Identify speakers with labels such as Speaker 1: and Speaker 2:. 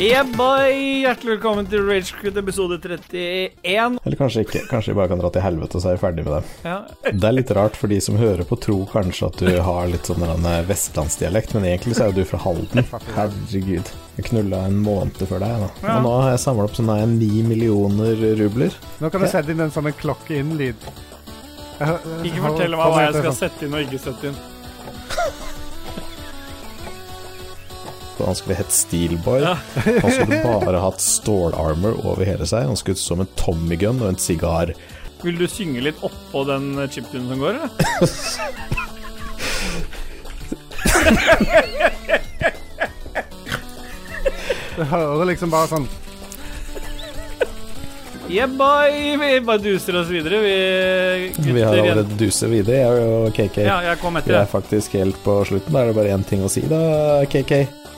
Speaker 1: Yeah, boy! Hjertelig velkommen til Ragequit episode 31.
Speaker 2: Eller kanskje ikke. Kanskje vi bare kan dra til helvete, og så er vi ferdig med det.
Speaker 1: Ja,
Speaker 2: Det er litt rart, for de som hører på, tror kanskje at du har litt sånn en vestlandsdialekt, men egentlig så er jo du fra Halden. Herregud. Jeg knulla en måned før deg, da. Og nå har jeg samla opp sånn nei, ni millioner rubler.
Speaker 3: Nå kan du sette inn en sånn en klokke-inn-lyd.
Speaker 1: ikke fortell meg hva jeg skal sette inn og ikke sette inn.
Speaker 2: Og han skulle hett Steelboy.
Speaker 1: Ja.
Speaker 2: Han skulle bare hatt stålarmor over hele seg. Han skulle ut som en Tommy Gun og en sigar.
Speaker 1: Vil du synge litt oppå den chiptunen som går, eller?
Speaker 3: Du hører liksom bare sånn
Speaker 1: Yeah, boy! Vi bare duser oss videre, vi gutter.
Speaker 2: Vi har
Speaker 1: igjen.
Speaker 2: allerede duset videre, jeg og KK.
Speaker 1: Ja, jeg kom
Speaker 2: Vi
Speaker 1: etter
Speaker 2: er
Speaker 1: deg.
Speaker 2: faktisk helt på slutten. Da er det bare én ting å si, da, KK.